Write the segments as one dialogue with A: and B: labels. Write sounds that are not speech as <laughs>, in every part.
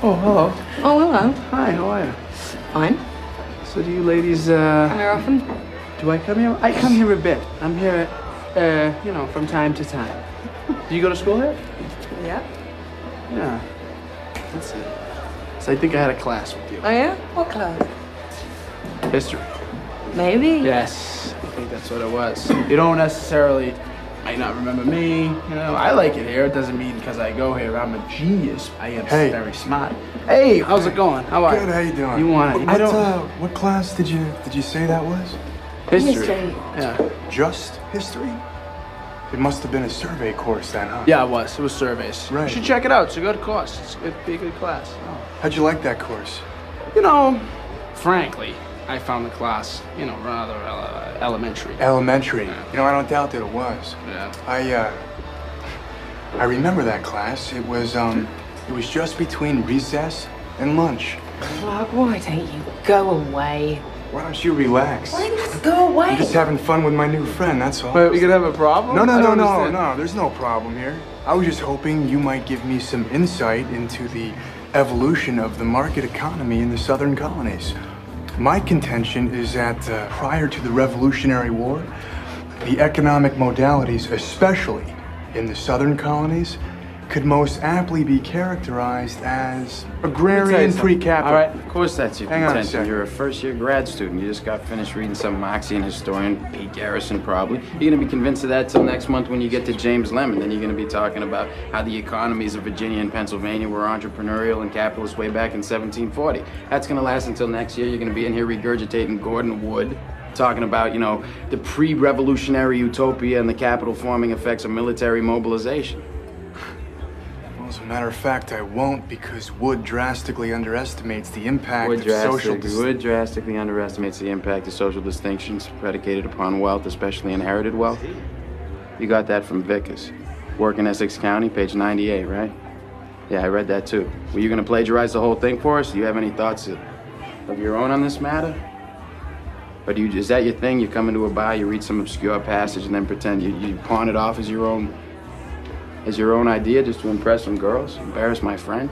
A: Oh, hello.
B: Oh, hello.
A: Hi, how are you?
B: Fine.
A: So do you ladies, uh,
B: Where often?
A: do I come here? I come here a bit. I'm here, uh, you know, from time to time. Do you go to school here?
B: Yeah.
A: Yeah. That's it. So I think I had a class with you.
B: Oh, yeah? What class?
A: History.
B: Maybe.
A: Yes, I think that's what it was. You don't necessarily might not remember me. You know, I like it here. It doesn't mean because I go here I'm a genius. I am
C: Hey.
A: very smart. Hey, how's it going? How are
C: Good, how you doing?
A: You want it?
C: What,
A: I don't.
C: Uh, what class did you did you say that was?
A: history.
B: History.
A: Yeah.
C: Just history? It must have been a survey course then, huh?
A: Yeah, it was. It was surveys. You
C: Right.
A: should check it out. It's a good course. It's good, be a good class.
C: How'd you like that course?
A: You know, frankly, I found the class, you know, rather uh, elementary.
C: Elementary. You know, I don't doubt that it was.
A: Yeah.
C: I uh I remember that class. It was um it was just between recess and lunch.
B: Clark, why don't you go away?
C: Why don't you relax?
B: Why not go away?
C: I'm just having fun with my new friend, that's all.
A: But we could have a problem?
C: no, no,
A: I
C: no,
A: don't
C: no,
A: understand.
C: no. There's no problem here. I was just hoping you might give me some insight into the evolution of the market economy in the southern colonies. My contention is that uh, prior to the Revolutionary War, the economic modalities, especially in the southern colonies, could most aptly be characterized as
A: Let me tell you
C: agrarian
A: something.
C: free capital.
A: All right.
D: Of course, that's your
C: Hang on a
D: contention.
C: sec.
D: You're a first-year grad student. You just got finished reading some Marxian historian, Pete Garrison, probably. You're gonna be convinced of that till next month when you get to James Lemon. Then you're gonna be talking about how the economies of Virginia and Pennsylvania were entrepreneurial and capitalist way back in 1740. That's gonna last until next year. You're gonna be in here regurgitating Gordon Wood. Talking about, you know, the pre revolutionary utopia and the capital forming effects of military mobilization.
C: Well, as a matter of fact, I won't because Wood drastically underestimates the impact
D: Wood,
C: of social
D: drastic, Wood drastically underestimates the impact of social distinctions predicated upon wealth, especially inherited wealth. You got that from Vickers. Work in Essex County, page 98, right? Yeah, I read that too. Were you going to plagiarize the whole thing for us? Do you have any thoughts of, of your own on this matter? Or do you, is that your thing? You come into a bar, you read some obscure passage, and then pretend you, you pawn it off as your own, as your own idea, just to impress some girls, embarrass my friend.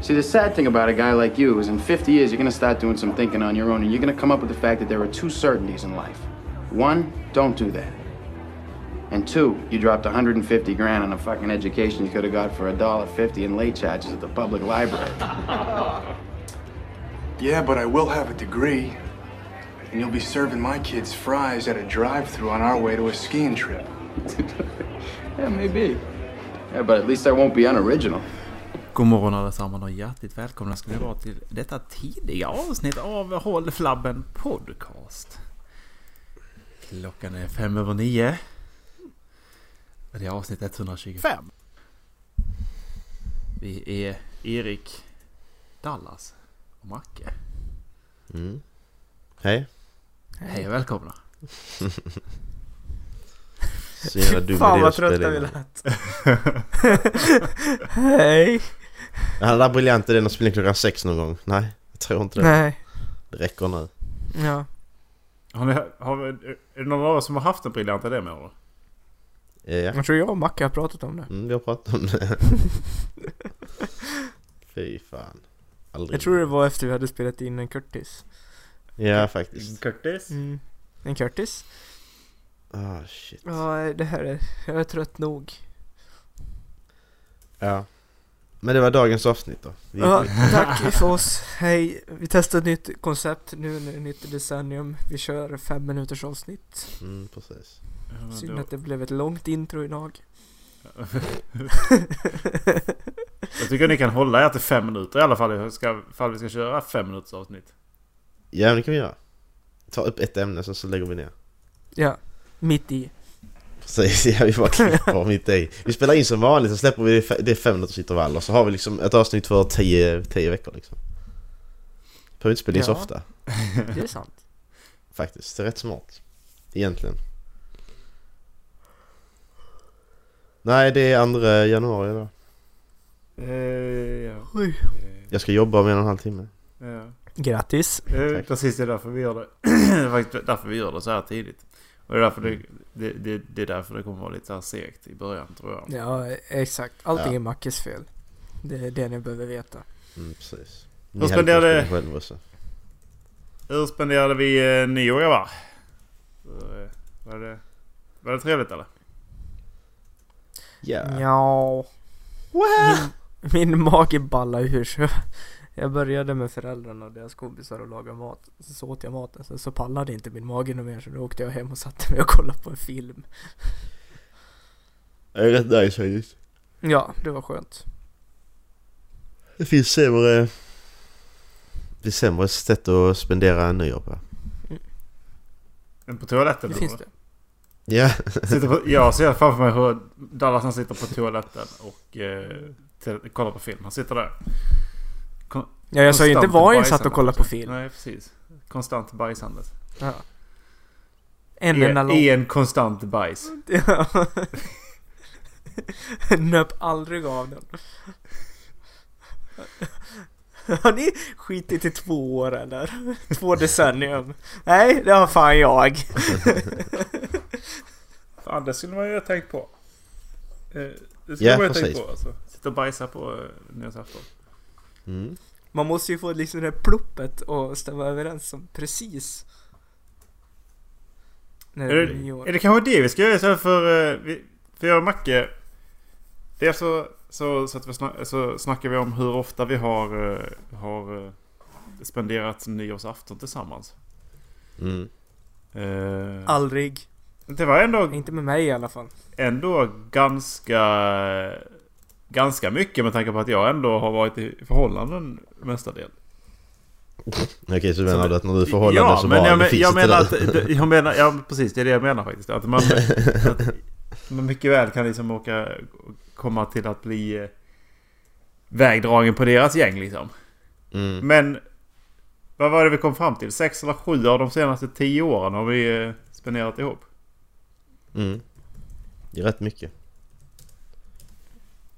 D: See, the sad thing about a guy like you is in 50 years, you're gonna start doing some thinking on your own, and you're gonna come up with the fact that there are two certainties in life. One, don't do that. And two, you dropped 150 grand on a fucking education you could have got for a dollar fifty in late charges at the public library.
C: Yeah, but I will have a degree. And you'll be serving my kids fries at a drive through on our way to a skiing trip.
A: Yeah, maybe.
D: Yeah, but at least I won't be unoriginal.
E: God morgon allesammans och hjärtligt välkomna ska ni vara till detta tidiga avsnitt av Håll Flabben Podcast. Klockan är fem över nio. Och Det är avsnitt 125.
F: Fem.
E: Vi är Erik, Dallas och Macke.
G: Hej.
E: Hej och välkomna.
G: Så jävla dum
F: Fan
G: idé
F: vad
G: att spela
F: trötta vi
G: in.
F: lät. Hej.
G: Han hade briljant idén att spela in klockan sex någon gång. Nej, jag tror inte det.
F: Nej.
G: Det räcker nu.
F: Ja.
H: Har ni, har, vi- är det någon av er som har haft en briljant idé med honom?
G: Eh, Ja,
F: Jag tror jag och Macke har pratat om det.
G: mm, vi har pratat om
F: <laughs>
G: det. Fy fan. Aldrig.
F: Jag tror det var efter vi hade spelat in en Curtis.
G: Ja, faktiskt.
H: Curtis?
F: Mm. En Curtis?
G: Ah, shit.
F: Ja, det här är... Jag är trött nog.
G: Ja. Men det var dagens avsnitt då. Vi
F: Ja, tack för oss. Hej. Vi testar ett nytt koncept nu när det är nytt decennium. Vi kör fem minuters avsnitt.
G: Mm, precis.
F: Synd att det blev ett långt intro idag.
H: Jag tycker ni kan hålla er till fem minuter i alla fall jag ska, ifall vi ska köra fem minuters avsnitt.
G: Ja, men det kan vi göra. Ta upp ett ämne, sen så lägger vi ner.
F: Ja, mitt <laughs> i.
G: Precis, <laughs> ja, vi bara klipper mitt i. Vi spelar in som vanligt, sen släpper vi det, det är fem minuters intervall och så har vi liksom ett avsnitt för tio, tio veckor liksom. Behöver inte spela in så
F: Ja.
G: ofta.
F: Det är sant.
G: Faktiskt, det är rätt smart. Egentligen. Nej, det är andra januari idag.
H: Eh, ja. Eh,
F: Oj.
G: Jag ska jobba om en och en halv timme.
H: Ja.
F: Grattis.
H: Eh,
G: Tack.
H: precis, det är därför vi gör det. <clears throat> det är faktiskt därför vi gör det så här tidigt. Och det är därför det, det, det, det, är därför det kommer vara lite så här segt i början tror jag.
F: Ja, exakt. Allting
G: Ja.
F: är Mackes fel. Det är det ni behöver veta.
G: Mm, precis.
H: Vad
G: hade kunnat
H: spenderade-
G: spela själv också.
H: Hur spenderade vi eh, nyår grabbar? Eh, Var det, var det trevligt eller?
G: Ja.
F: Ja. Min, min mage ballar ur så jag började med föräldrarna och deras kompisar och laga mat. Sen så åt jag maten, sen så pallade inte min mage något mer så då åkte jag hem och satte mig och kollade på en film.
G: Det är rätt nice faktiskt.
F: Ja, det var skönt.
G: Det finns sämre... Det är sämre sätt att spendera nyår på.
H: Men På toaletten?
F: Det
H: då,
F: finns
H: eller?
F: det.
G: Ja,
H: Sitter på, jag ser framför mig hur Dallas han sitter på toaletten och eh, till, kollar på film. Han sitter där.
F: Ja, jag sa ju inte
H: Konstant
F: var jag
H: bajsande.
F: satt och kollade på film.
H: Nej, precis. Konstant bajsande.
F: Ja.
H: I,
F: En enda lång...
H: I en konstant bajs.
F: <laughs> Ja. Nöp aldrig av den. Har ni skitit i två år eller? Två decennium? Nej, det har fan jag.
H: Fan, det skulle man ju ha tänkt på. Eh, Det skulle
G: Ja,
H: man ju ha tänkt
G: precis.
H: på alltså. Sitta och bajsa på eh, nyårsafton.
G: mm.
F: Man måste ju få liksom det pluppet och stämma överens om precis. När
H: Är
F: det blir
H: det, är
F: nyår.
H: det kanske det vi ska göra istället för... eh, vi- För jag och Macke... Dels så, så, så, att vi snack, så snackar vi om hur ofta vi har, eh, har eh, spenderat nyårsafton tillsammans.
G: Mm.
H: Eh,
F: Aldrig.
H: Det var ändå,
F: Inte med mig i alla fall.
H: ändå ganska... Ganska mycket med tanke på att jag ändå har varit i förhållanden mestadels.
G: Okej, så menar du att när du är i förhållande
H: Ja,
G: så
H: men
G: bara,
H: jag, men,
G: det finns
H: jag
G: inte
H: menar att...
G: där.
H: Jag menar, ja, precis. Det är det jag menar faktiskt. Att man, att man mycket väl kan liksom åka... Komma till att bli... eh, Vägdragen på deras gäng liksom.
G: Mm.
H: Men... Vad var det vi kom fram till? Sex eller sju av de senaste tio åren har vi eh, spenderat ihop.
G: Mm. Det är rätt mycket.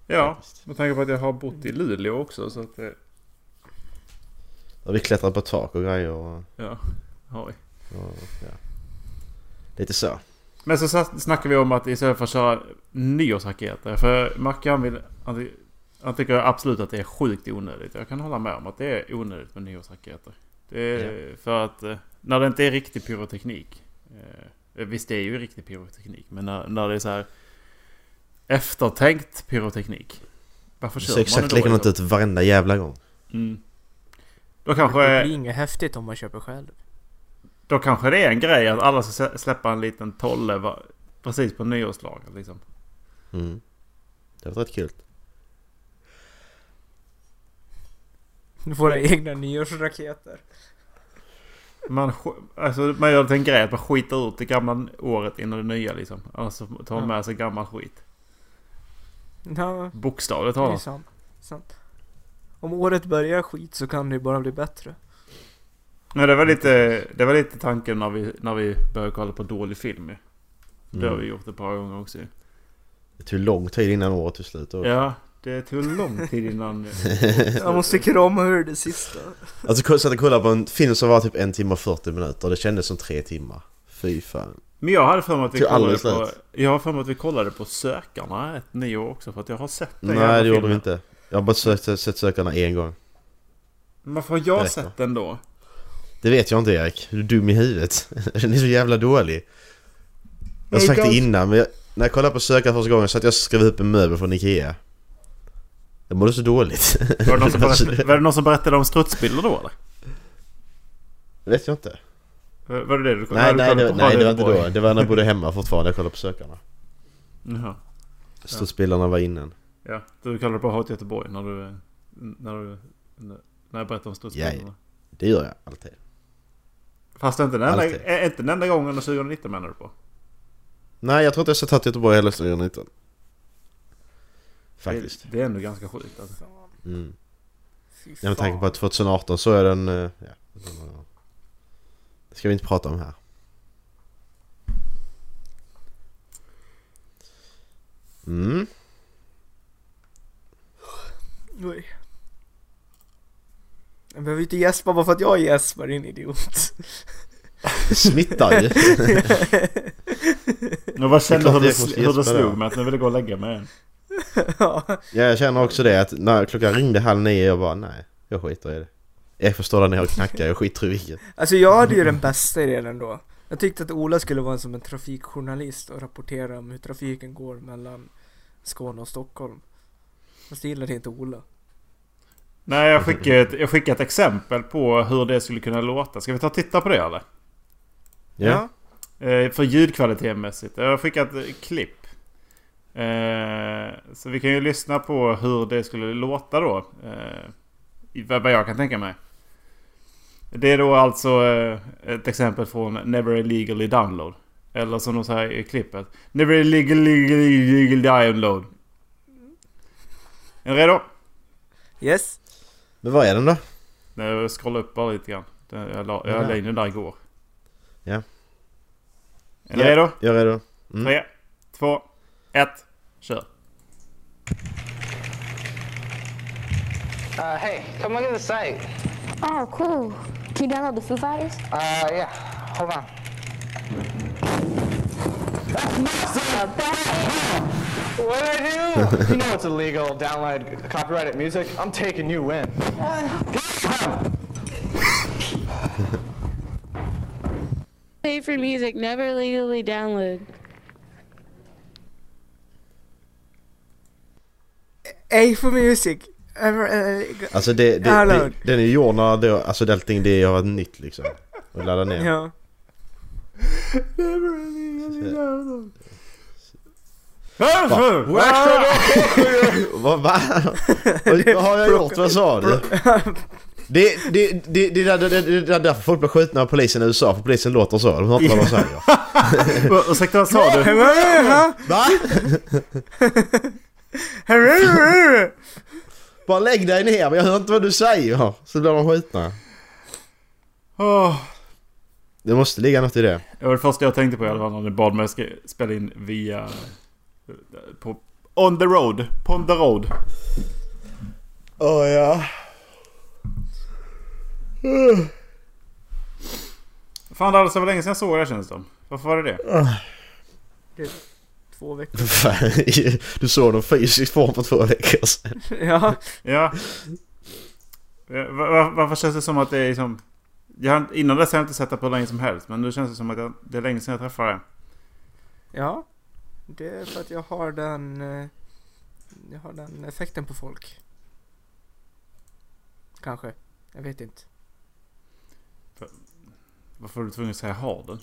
H: Ja,
G: faktiskt.
H: med tanke på att jag har bott i Luleå också så att... eh,
G: Och vi klättrar på tak och grejer och,
H: Ja, har vi.
G: och ja. Lite så.
H: Men så satt- snackar vi om att istället för att köra nyårsraketer. För Macke han vill... Han, ty- han tycker absolut att det är sjukt onödigt. Jag kan hålla med om att det är onödigt med nyårsraketer. Det är för att eh, när det inte är riktig pyroteknik. Eh, visst det är ju riktig pyroteknik. Men när, när det är så här eftertänkt pyroteknik. Varför
G: Det
H: kör
G: ser
H: man
G: exakt
H: det då?
G: likadant
H: liksom?
G: ut varenda jävla gång.
H: Mm. Då
F: Det
H: kanske...
F: blir inget häftigt om man köper själv. <laughs>
H: Då kanske det är en grej att alla ska sä- släppa en liten tolle va- precis på nyårslagen liksom.
G: Mm. Det var rätt kul.
F: Våra egna nyårsraketer.
H: Man, sk- alltså, man gör det till en grej att man skiter ut det gamla året innan det nya liksom. Alltså tar man med sig gammal skit.
F: Ja,
H: Bokstavligt
F: Det är
H: talat.
F: sant. sant. Om året börjar skit så kan det ju bara bli bättre.
H: Nej, det var lite, det var lite tanken när vi, när vi började kolla på dålig film ju. Det
G: Mm.
H: har vi gjort ett par gånger också ju.
G: Det tog lång tid innan året tog slut. och-
H: Ja, det tog lång tid innan...
F: Jag måste krama ur det sista.
G: Alltså jag satt och kollade på en film som var typ en timme och 40 minuter och det kändes som tre timmar. Fy fan.
H: Men jag hade för mig att vi
G: Tog
H: kollade
G: alldeles
H: på...
G: slut.
H: Jag har för mig att vi kollade på Sökarna ett nyår också för att jag har sett den jävla
G: Nej det gjorde vi
H: filmen.
G: inte. Jag har bara sökt, sett Sökarna en gång.
H: Men Varför har jag
G: Berätta.
H: sett den då?
G: Det vet jag inte Erik. Du är dum i huvudet. <laughs> Den är så jävla dålig. Jag har
H: Nej,
G: sagt det
H: de-
G: innan men jag, när jag kollade på Sökarna första gången så att jag skrev upp en möbel från Ikea. Jag mådde så dåligt. <laughs>
H: Var det någon som berättade, var det någon som berättade om strutsbilder då eller?
G: Det vet jag inte.
H: Var- Var det det du
G: Nej,
H: du
G: nej,
H: kollade
G: det,
H: på
G: nej det var
H: Radio
G: inte
H: Göteborg?
G: då. Det var när jag bodde hemma fortfarande. Jag kollade på Sökarna.
H: Jaha.
G: Strutsbilarna var innan.
H: Ja, du kallade på Hat Göteborg när du... När du... När jag berättade om strutsbilderna.
G: Ja, Det gör jag alltid.
H: Fast inte den, enda,
G: Alltid.
H: ä- inte den enda gången under 2019 menar du på?
G: Nej jag tror inte jag sett Hatt Göteborg heller sedan jag var liten. Faktiskt.
H: Det, det är ändå ganska sjukt alltså.
G: Mm.
F: Fy
G: Ja, med tanke på
F: fan.
G: att 2018 så är den... eh, Ja, den var- det ska vi inte prata om här. Mm.
F: Oj. Jag behöver ju inte gäspa bara för att jag gäspar din idiot.
G: Det smittar
F: <laughs>
G: ju.
H: Jag bara kände hur
G: klart jag
H: det,
G: måste
H: sl- hur det
G: gäspa där.
H: slog mig att nu vill jag gå och lägga mig igen.
F: ja.
G: Ja, jag känner också det att när klockan ringde halv nio, jag bara nej, jag skiter i det. Jag förstår där nere och knackar, jag skiter i vilket.
F: Alltså jag hade ju den bästa idén ändå. Jag tyckte att Ola skulle vara som en trafikjournalist och rapportera om hur trafiken går mellan Skåne och Stockholm. Fast det gillade inte Ola.
H: Nej, jag skickade, ett, jag skickade ett exempel på hur det skulle kunna låta. Ska vi ta och titta på det eller?
G: Ja.
H: Eh, för ljudkvalitetmässigt. Jag har skickat eh, klipp. Eh, så vi kan ju lyssna på hur det skulle låta då. Eh, i vad vad jag kan tänka mig. Det är då alltså eh, ett exempel från Never Illegally Download. Eller som de säger i klippet. Never Illegally illegally Download. Är ni redo?
F: Yes.
G: Men vad är den då?
H: Nej, Jag scrollar upp bara lite grann. Den- Jag la,
G: Ja.
H: jag la in den där igår.
G: Ja.
H: Är ni redo?
G: Jag är redo. Mm.
H: Tre, två, ett, kör.
I: Uh, hey, come look at the site.
J: Oh, cool. Can you download the Foo Fighters?
I: Uh, yeah, hold on. What did I do? you know it's illegal. Download copyrighted music. I'm taking you in.
J: Pay for music, never legally download.
F: A for music. Ever, eh,
G: Alltså det, det,
F: Hallå.
G: det, den är ju gjord när det, alltså det allting det har varit nytt liksom. Och ladda ner.
F: ja.
G: Ah! Vad va? Vad vad har jag gjort? Vad sa du? Det, det, det, det, är där- det, det, det är därför folk blir skjutna av polisen i USA, för polisen låter så. De hör inte vad de säger.
H: Vad- Ursäkta, vad sa du?
G: Va? <laughs> Bara lägg dig ner, men jag hör inte vad du säger. Så blir de skjutna.
H: Åh.
G: Det måste ligga något i det.
H: Det var det första jag tänkte på i alla fall när ni bad mig sk- spela in via... eh, På, on the road. På on the road.
G: Åh ja.
H: Fan, det var så länge sedan jag såg det här, känns det som. Varför var det det?
F: Två veckor. <laughs>
G: Fan, <laughs> du såg dem fysiskt form för två veckor sedan.
F: Ja.
H: Ja. Eh, va- va- Varför känns det som att det är liksom... Jag, har- innan dess har jag inte sett det på hur länge som helst. Men nu känns det som att jag, det är länge sedan jag träffade det.
F: Ja. Det är för att jag har den... eh, Jag har den effekten på folk. Kanske. Jag vet inte.
H: Varför var du tvungen att säga har den?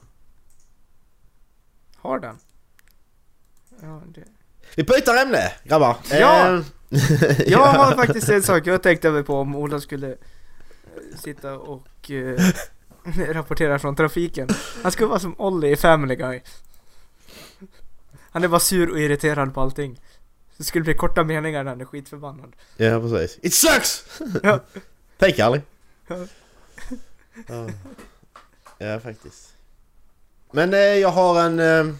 F: Har den? Ja, det...
G: Vi byter ämne, grabbar.
F: Ja.
G: Eh,
F: Jag har faktiskt en sak jag tänkte över på om Ola skulle eh, sitta och eh, <laughs> rapportera från trafiken. Han skulle vara som Olli i Family Guy. Han är bara sur och irriterad på allting. Det skulle bli korta meningar när han är skitförbannad.
G: Ja, precis. It sucks!
F: Ja.
G: <laughs> Tänk aldrig.
F: Ja.
G: Ja. ja, faktiskt. Men eh, jag har en... Eh,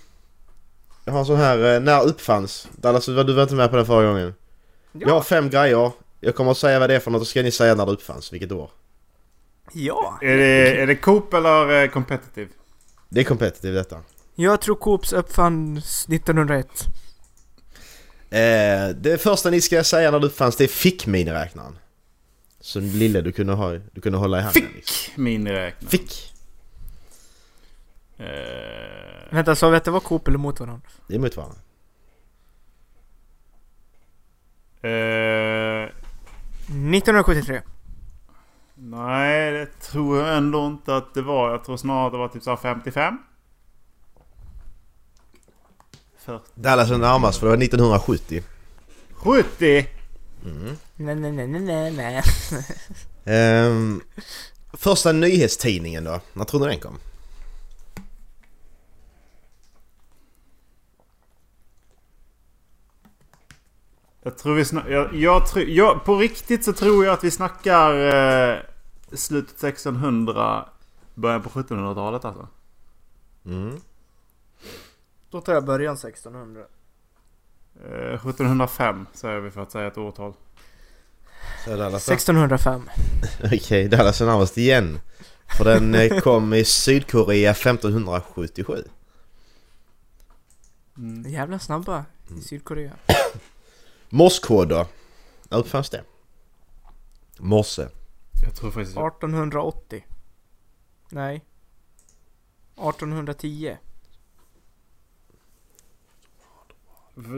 G: jag har en sån här... Eh, när uppfanns? Dallas, du var du var inte med på den förra gången. Jag har fem grejer. Jag kommer att säga vad det är för något och ska ni säga när det uppfanns, vilket år.
F: Ja!
H: Är det, är det Coop eller eh, Competitive?
G: Det är competitive detta.
F: Jag tror Coops uppfanns 1901.
G: Eh, det första ni ska säga när det uppfanns, det är fickminiräknaren. Så den lille du kunde, ha, du kunde hålla i handen. liksom.
H: Fick miniräknare.
G: Fick!
H: Eh,
F: Vänta, sa vi att det var Coop eller mot varandra?
G: Det är mot varandra.
H: eh,
F: 1973.
H: nej, det tror jag ändå inte att det var. Jag tror snarare att det var typ så här 55.
G: Dallas är närmast för det var 1970.
H: 70!
F: Nej, nej, nej, nej, nej, nej.
G: Ehm, första nyhetstidningen då? När tror ni den kom?
H: Jag tror vi snackar... Jag, jag, tror- jag, på riktigt så tror jag att vi snackar eh, slutet 1600, början på 1700-talet alltså.
G: Mm.
F: Då tar jag början 1600.
H: Eh, 1705 säger vi för att säga ett årtal.
G: Så Dallas då?
F: 1605.
G: <laughs> Okej, Dallas är alltså närmast igen. För den eh, kom i Sydkorea 1577.
F: Jävla snabba i Sydkorea.
G: Morskoder. När uppfanns det? Morse.
H: Jag tror faktiskt...
F: 1880. Nej. 1810.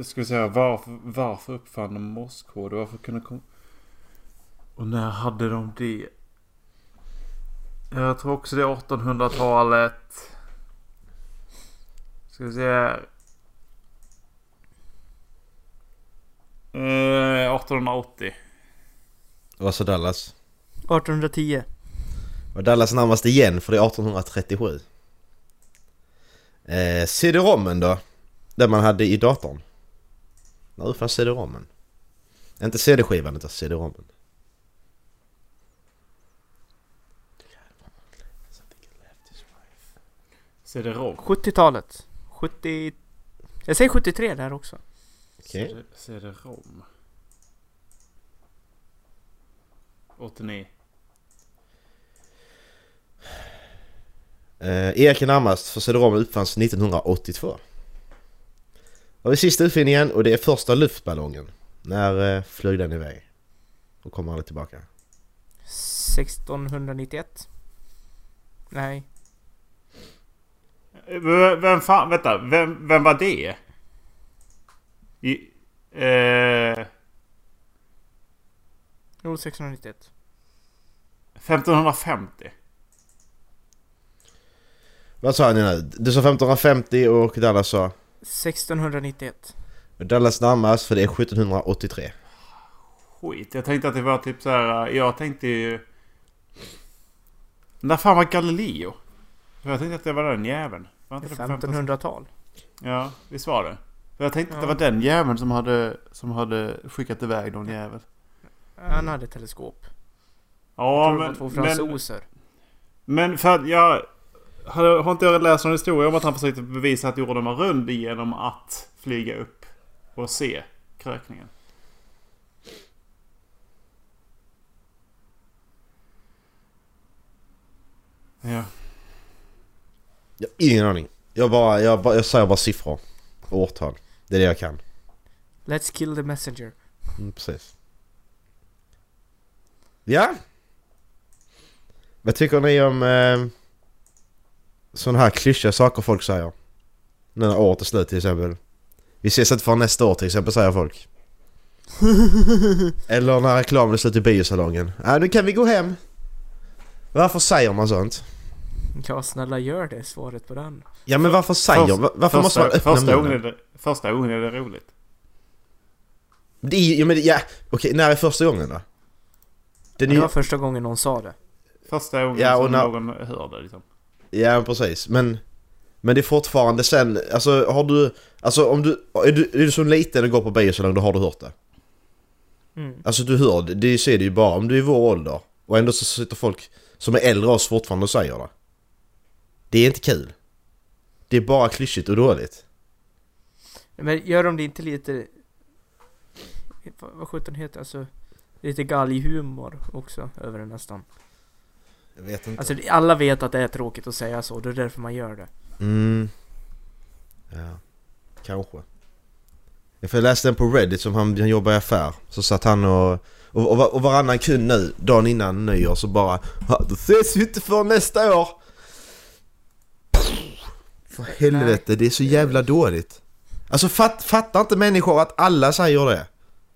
H: Ska vi säga varför, varför uppfann de morskoder? Varför kunde kom... Och när hade de det? Jag tror också det är 1800-talet. Ska vi se här. Eh, 1880.
G: Vad sa Dallas?
F: 1810.
G: Var Dallas närmast igen för det är 1837. Eh, CD-rommen då? Den man hade i datorn. När uppfanns CD-rommen? Inte CD-skivan utan CD-rommen.
H: CD-ROM.
F: 70-talet. 70... Jag säger 73 där också.
G: Okej.
H: CD- CD-ROM. 89.
G: Eh, Erik är närmast för CD-ROM uppfanns 1982. Då har vi sista uppfinningen och det är första luftballongen. När eh, flög den iväg? Och kommer aldrig tillbaka.
F: 1691. Nej.
H: Eh, v- Vem fan, vänta, vem, vem var det? I, eh,
F: Jo, 1691.
H: 1550.
G: Vad sa ni nu? Du sa 1550 och Dallas sa?
F: 1691.
G: Och Dallas närmast för det är 1783.
H: Skit, jag tänkte att det var typ så här. eh, Jag tänkte ju... När fan var Galileo? För jag tänkte att det var den jäveln. Var inte det på
F: 1500-tal.
H: Ja, visst var det? För jag tänkte att det
F: Ja.
H: var den jäveln som hade, som hade skickat iväg någon jävel.
F: Han hade teleskop.
H: Mm. Ja,
F: Tror det var
H: men...
F: två
H: men
F: fransoser.
H: Men för att jag... Har, har inte jag läst någon historia om att han försökte bevisa att jorden var rund genom att flyga upp och se krökningen? Ja.
G: Jag har ingen aning. Jag, bara, jag, bara, jag säger bara siffror. Och årtal. Det är det jag kan.
F: Let's kill the messenger.
G: Mm, precis. Ja? Vad tycker ni om eh, sådana här klyschiga saker folk säger? Nu när året är slut till exempel. Vi ses inte förrän nästa år till exempel säger folk. Eller när reklamen är slut i biosalongen. Äh, nu kan vi gå hem. Varför säger man sånt?
F: Ja, snälla gör det. Svaret på den.
G: Ja men varför säger man? Varför
H: första,
G: måste man öppna
H: första gången, är
G: munnen?
H: det, första gången är det roligt.
G: Det är ju, ja, men, det- ja. Okej, när är första gången då? Den är
F: Det
G: ju,
F: var första gången någon sa det.
H: Första gången
G: Ja, och
H: som
G: när-
H: någon hör det liksom.
G: Ja precis, men Men det är fortfarande sen, alltså har du Alltså om du, är du, är du som liten och går på biosalong då har du hört det
F: Mm.
G: Alltså du hör det, det ser du ju bara om du är i vår ålder Och ändå så sitter folk som är äldre än oss fortfarande och säger det Det är inte kul Det är bara klyschigt och dåligt
F: Men gör de det inte lite... Vad, vad sjutton heter det? Alltså... Lite galghumor också över det nästan.
G: Jag vet inte
F: Alltså det- alla vet att det är tråkigt att säga så, det är därför man gör det.
G: Mm Ja, kanske Ja, för Jag läste den på Reddit som han, han jobbar i affär Så satt han och och, och, var- och varannan kund nu, dagen innan nyår så bara "Ja, Då ses vi inte för nästa år! För helvete, det är så jävla dåligt Alltså fatt, fattar inte människor att alla säger det?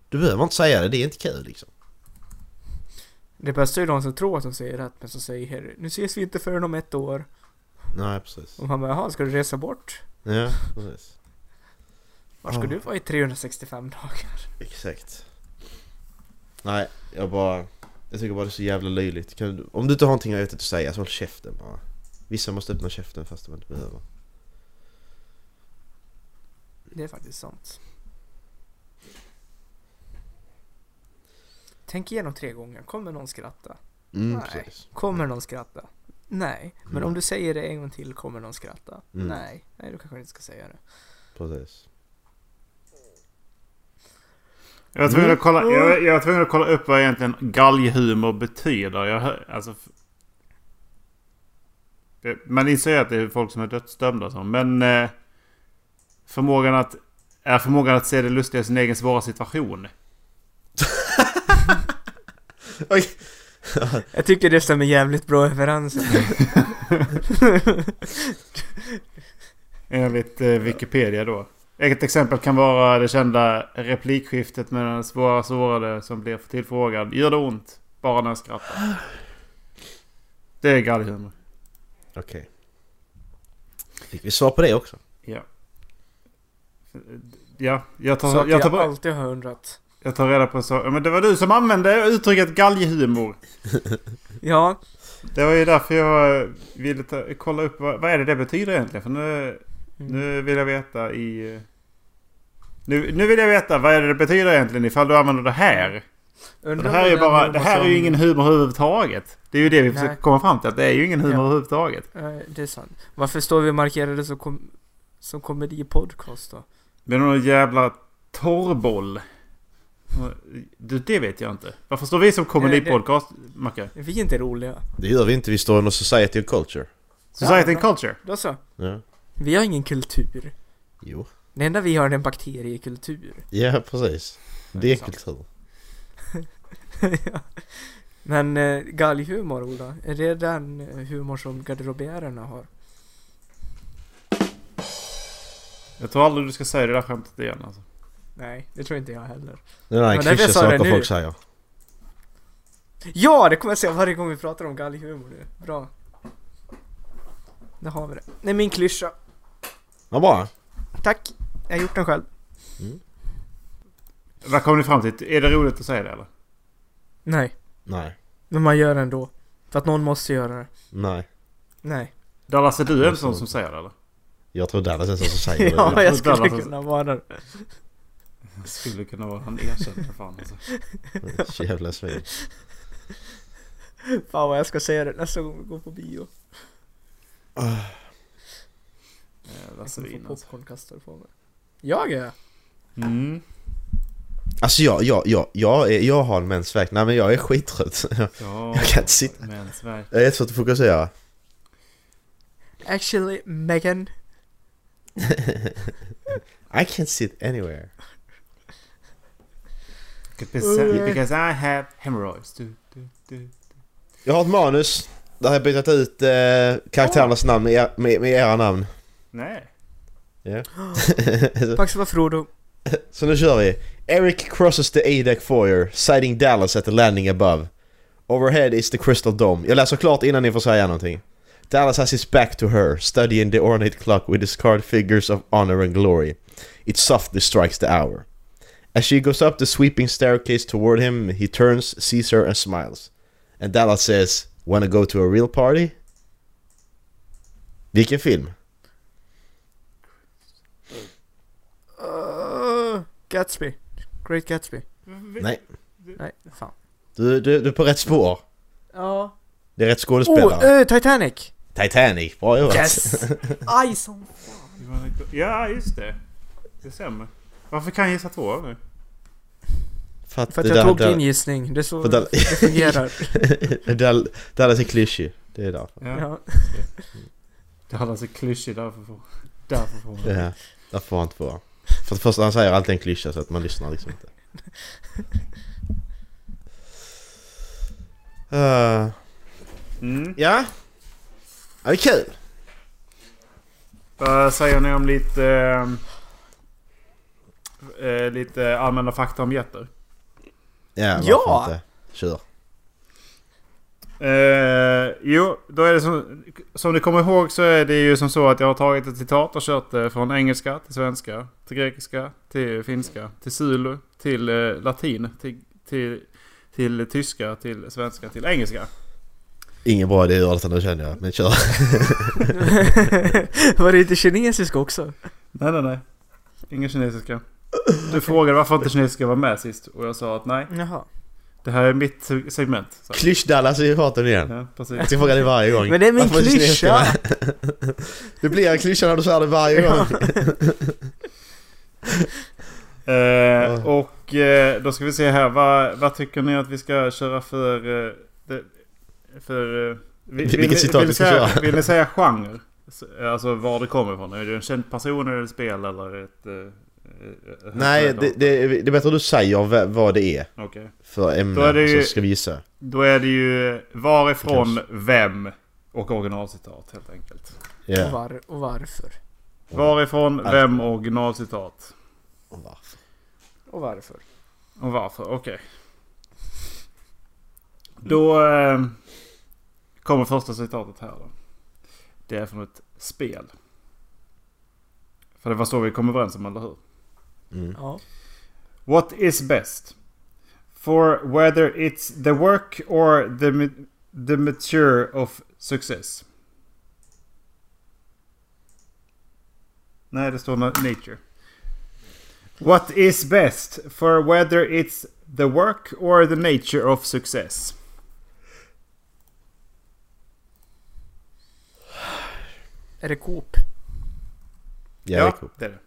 G: Du behöver inte säga det, det är inte kul liksom
F: Det bästa är ju de som tror att de säger rätt men som säger nu ses vi inte förrän om ett år.
G: Nej precis
F: Och man bara jaha, ska du resa bort?
G: Ja, precis
F: Var ska
G: Ja.
F: du vara i 365 dagar? <laughs>
G: Exakt Nej, jag bara... Jag tycker bara det är så jävla löjligt. Kan, du- om du inte har någonting vettigt att säga så håll käften bara. Vissa måste öppna käften fast de inte behöver.
F: Det är faktiskt sant. Tänk igenom tre gånger, kommer någon skratta?
G: Mm,
F: Nej.
G: precis.
F: Kommer någon skratta? Nej. Men
G: Mm.
F: om du säger det en gång till, kommer någon skratta?
G: Mm.
F: Nej. Nej, du kanske inte ska säga det.
G: Precis.
H: Jag var, tvungen att kolla, jag, jag var tvungen att kolla upp vad egentligen galghumor betyder. Jag, hör- alltså, f- Eh, man inser ju att det är folk som är dödsdömda. och Så, men eh, förmågan att är förmågan att se det lustiga i sin egen svåra situation.
F: Jag tycker det stämmer jävligt bra överens.
H: <laughs> Enligt eh, Wikipedia då. Ett exempel kan vara det kända replikskiftet med den svåra sårade som blir tillfrågad. Gör det ont? Bara när jag skrattar. Det är galghumor.
G: Okej. Fick vi svar på det också?
H: Ja. Ja, jag tar,
F: Så
H: jag
F: jag,
H: tar,
F: jag
H: jag,
F: alltid har undrat.
H: jag tar reda på så. Ja, Men det var du som använde uttrycket galghumor.
F: Ja,
H: Det var ju därför jag ville ta, kolla upp vad, vad är det det betyder egentligen. För nu,
F: Mm.
H: nu vill jag veta i... Nu, nu vill jag veta vad är det det betyder egentligen ifall du använder det här. För
F: undrar
H: Det här är
F: om
H: ju
F: den
H: bara,
F: humor
H: det här är ju
F: som-
H: ingen humor överhuvudtaget. Det är ju det vi försöker
F: Nej.
H: komma fram till. Att det är ju ingen humor
F: Ja.
H: överhuvudtaget.
F: Nej, det är sant. Varför står vi markerade som, kom, som komedi-podcast då?
H: Men någon jävla torrboll. Du, det vet jag inte. Varför står vi som komedipodcast, Macke?
F: Vi är inte roliga.
G: Det gör vi inte, vi står inom Society and Culture.
H: Society and Culture.
F: Då så.
G: Ja.
F: Vi har ingen kultur.
G: Jo.
F: Det enda vi har är en bakteriekultur. <laughs>
G: Ja, precis. Det är en kultur.
F: Ja. Men eh, galghumor, Ola. Är det den eh, humor som garderobiärerna har?
H: Jag tror aldrig du ska säga det där skämtet igen alltså.
F: Nej, det tror inte jag heller.
G: Det är den här
F: Men därför
G: klyschiga
F: jag sa det
G: saker
F: nu.
G: folk säger.
F: Ja, det kommer jag säga varje gång vi pratar om galghumor nu. Bra. Där har vi det. Det är min klyscha.
G: Vad bra.
F: Tack. Jag har gjort den själv.
H: Vad kom ni fram till? Är det roligt att säga det eller?
F: Nej,
G: Nej.
F: men man gör det ändå. För att någon måste göra det.
G: Nej.
F: Nej.
H: Dallas, är du en sån som säger det eller?
G: Jag tror Dallas är sån som <laughs> säger det.
F: <laughs> Ja, <laughs> jag
H: Dallas
F: skulle
H: har-
F: kunna vara det.
H: Det skulle kunna vara. Han erkänner det fan alltså.
G: Jävla svin.
F: Fan vad jag ska säga det nästa gång vi går på bio.
H: Jävla
F: Jag kommer
H: svin
F: få
H: alltså.
F: popcornkastare på mig. Jag är?
H: Mm.
G: Alltså jag, jag, jag, jag, är, jag har en mensvärk. Nej men jag är skittrött. <laughs>
H: Ja.
G: Jag kan inte sitta.
H: Mensvärk.
G: Jag är jättesvårt att fokusera.
F: Actually, Megan.
G: I can't sit anywhere.
H: Because I have hemorrhoids. Du, du, du.
G: Jag har ett manus. Där har jag bytt ut eh, karaktärernas namn med, er, med, med era namn.
H: Nej.
F: Pax var Frodo.
G: Så nu kör vi. Eric crosses the A-deck foyer, sighting Dallas at the landing above. Overhead is the crystal dome. Jag läser klart innan ni får säga någonting. Dallas has his back to her, studying the ornate clock with his carved figures of honor and glory. It softly strikes the hour. As she goes up the sweeping staircase toward him, he turns, sees her and smiles. And Dallas says, Wanna go to a real party? Vilken film?
F: Uh, Gatsby. Great Gatsby.
G: Nej,
F: Nej, fan.
G: du, du, du är på rätt spår.
F: Ja.
G: Det är rätt skådespelare.
F: Oh, eh, Titanic!
G: Titanic, bra jobbat!
F: Yes! <laughs> Aj som
H: You wanna go- Ja, just det. Det stämmer. Varför kan jag gissa två nu?
G: För att,
F: För att
G: det
F: jag
G: där-
F: tog
G: där- <laughs>
F: din gissning. Det är så
G: För där-
F: det
G: <laughs>
F: fungerar.
G: Dal- Dallas är klyschig. Det är därför.
F: ja. <laughs>
H: Det hade alltså klyschig därför får... Därför får man...
G: Ja, därför får han inte vara. För det första han säger alltid en klyscha så att man lyssnar liksom
F: <laughs>
G: inte. Eh,
H: Mm.
G: ja. Ja, det är kul.
H: Vad säger ni om lite... ehm, eh, lite allmänna fakta om getter?
G: Ja, varför
F: Ja!
G: inte? Kör.
H: Eh, jo, då är det som... Som ni kommer ihåg så är det ju som så att jag har tagit ett citat och kört det från engelska till svenska, till grekiska, till finska, till zulu, till eh, latin, till, till, till tyska, till svenska, till engelska.
G: Ingen bra idé i ordet nu känner jag, men kör.
F: Var det inte kinesisk också?
H: Nej, nej, nej. Ingen kinesiska. Du frågade varför inte kinesiska var med sist och jag sa att nej,
F: Jaha.
H: det här är mitt segment. Så.
G: <laughs> Klysch-Dallas är ju farten igen.
H: Ja,
G: Jag
H: precis.
G: ska fråga dig varje gång.
F: Men det är min
G: Varför du sned
F: klyscha!
G: med? Det blir en klyscha när du säger det varje
F: <laughs>
G: gång.
H: Eh, och eh, då ska vi se här. Vad, vad tycker ni att vi ska köra för... Eh, det, för eh, vi-
G: Vilket
H: vill,
G: citat vi
H: ni
G: ska
H: säga,
G: köra?
H: vill ni säga genre? S- Alltså var det kommer ifrån? Är det en känd person eller ett spel eller ett... Eh, eh,
G: Nej,
H: högtalare.
G: det, det, det är bättre att du säger vad, vad det är
H: Okej.
G: för
H: Då är
G: ämne,
H: det ju-
G: så ska vi gissa.
H: Då är det ju varifrån,
G: Kanske.
H: vem och originalcitat helt enkelt.
G: Ja.
F: Och, var, och varför?
H: Varifrån,
G: Allt.
H: vem och originalcitat.
G: Och varför?
F: Och varför?
H: Och varför, okej. Då eh, kommer första citatet här då. Det är från ett spel. För det var så vi kom överens om, eller hur?
G: Mm.
F: Ja.
H: What is best? For whether it's the work or the, ma- the mature of success. Nej, det står na- nature. What is best for whether it's the work or the nature of success?
F: Är det Coop?
G: Ja, det är coolt.
H: det är det.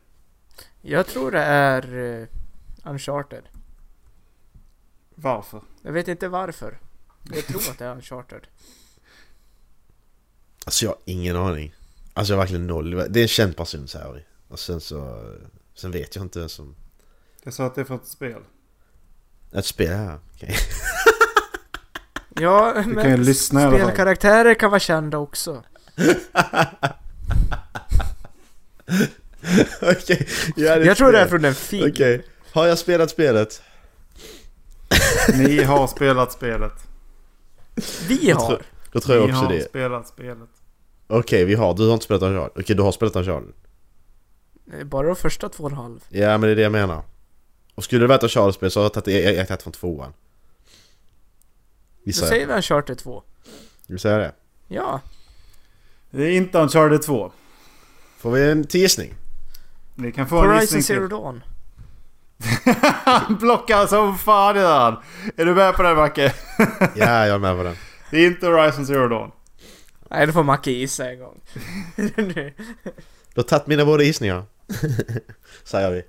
F: Jag tror det är eh, Uncharted.
H: Varför?
F: Jag vet inte varför. Jag tror att det är Uncharted.
G: Alltså jag har ingen aning. Alltså jag har verkligen noll. Det är en känd person säger vi. Och sen så... Sen vet jag inte ens om...
H: Jag sa att det är för ett spel.
G: Ett spel här. Okej.
F: Ja,
H: Du kan ju
F: men
H: lyssna i alla fall.
F: spelkaraktärer kan vara kända också.
G: Okej. <laughs> Ja, är ett
F: Jag tror det är
G: spel.
F: från en film.
G: Okej. Har jag spelat spelet?
H: Ni har spelat spelet.
F: Vi
G: Jag
F: har.
G: tror- Då tror jag
H: Ni
G: också
H: har
G: det.
H: spelat spelet.
G: Okej, vi har. Du har inte spelat Uncharted. Okej, du har spelat Uncharted.
F: Eh, Bara de första två och en halv.
G: Ja, men det är det jag menar. Och skulle det vara ett Uncharted-spel så har jag tagit, jag, jag, jag har tagit från tvåan.
F: Då
G: Gissar
F: säger
G: jag.
F: vi Uncharted 2.
G: Vi säger det.
F: Ja.
H: Det är inte Uncharted 2.
G: Får vi en till gissning?
H: Ni kan få en
F: Horizon
H: gissning
F: Zero
H: till.
F: Dawn.
H: Han blockar som fan är han. Är du med på det Macke?
G: Ja, jag är med på den.
H: Det är inte Horizon Zero Dawn.
F: Nej, då får Macke gissa
H: <laughs>
F: en gång. <laughs> Nu.
G: Du har tagit mina båda
F: <laughs>
G: gissningar. säger vi.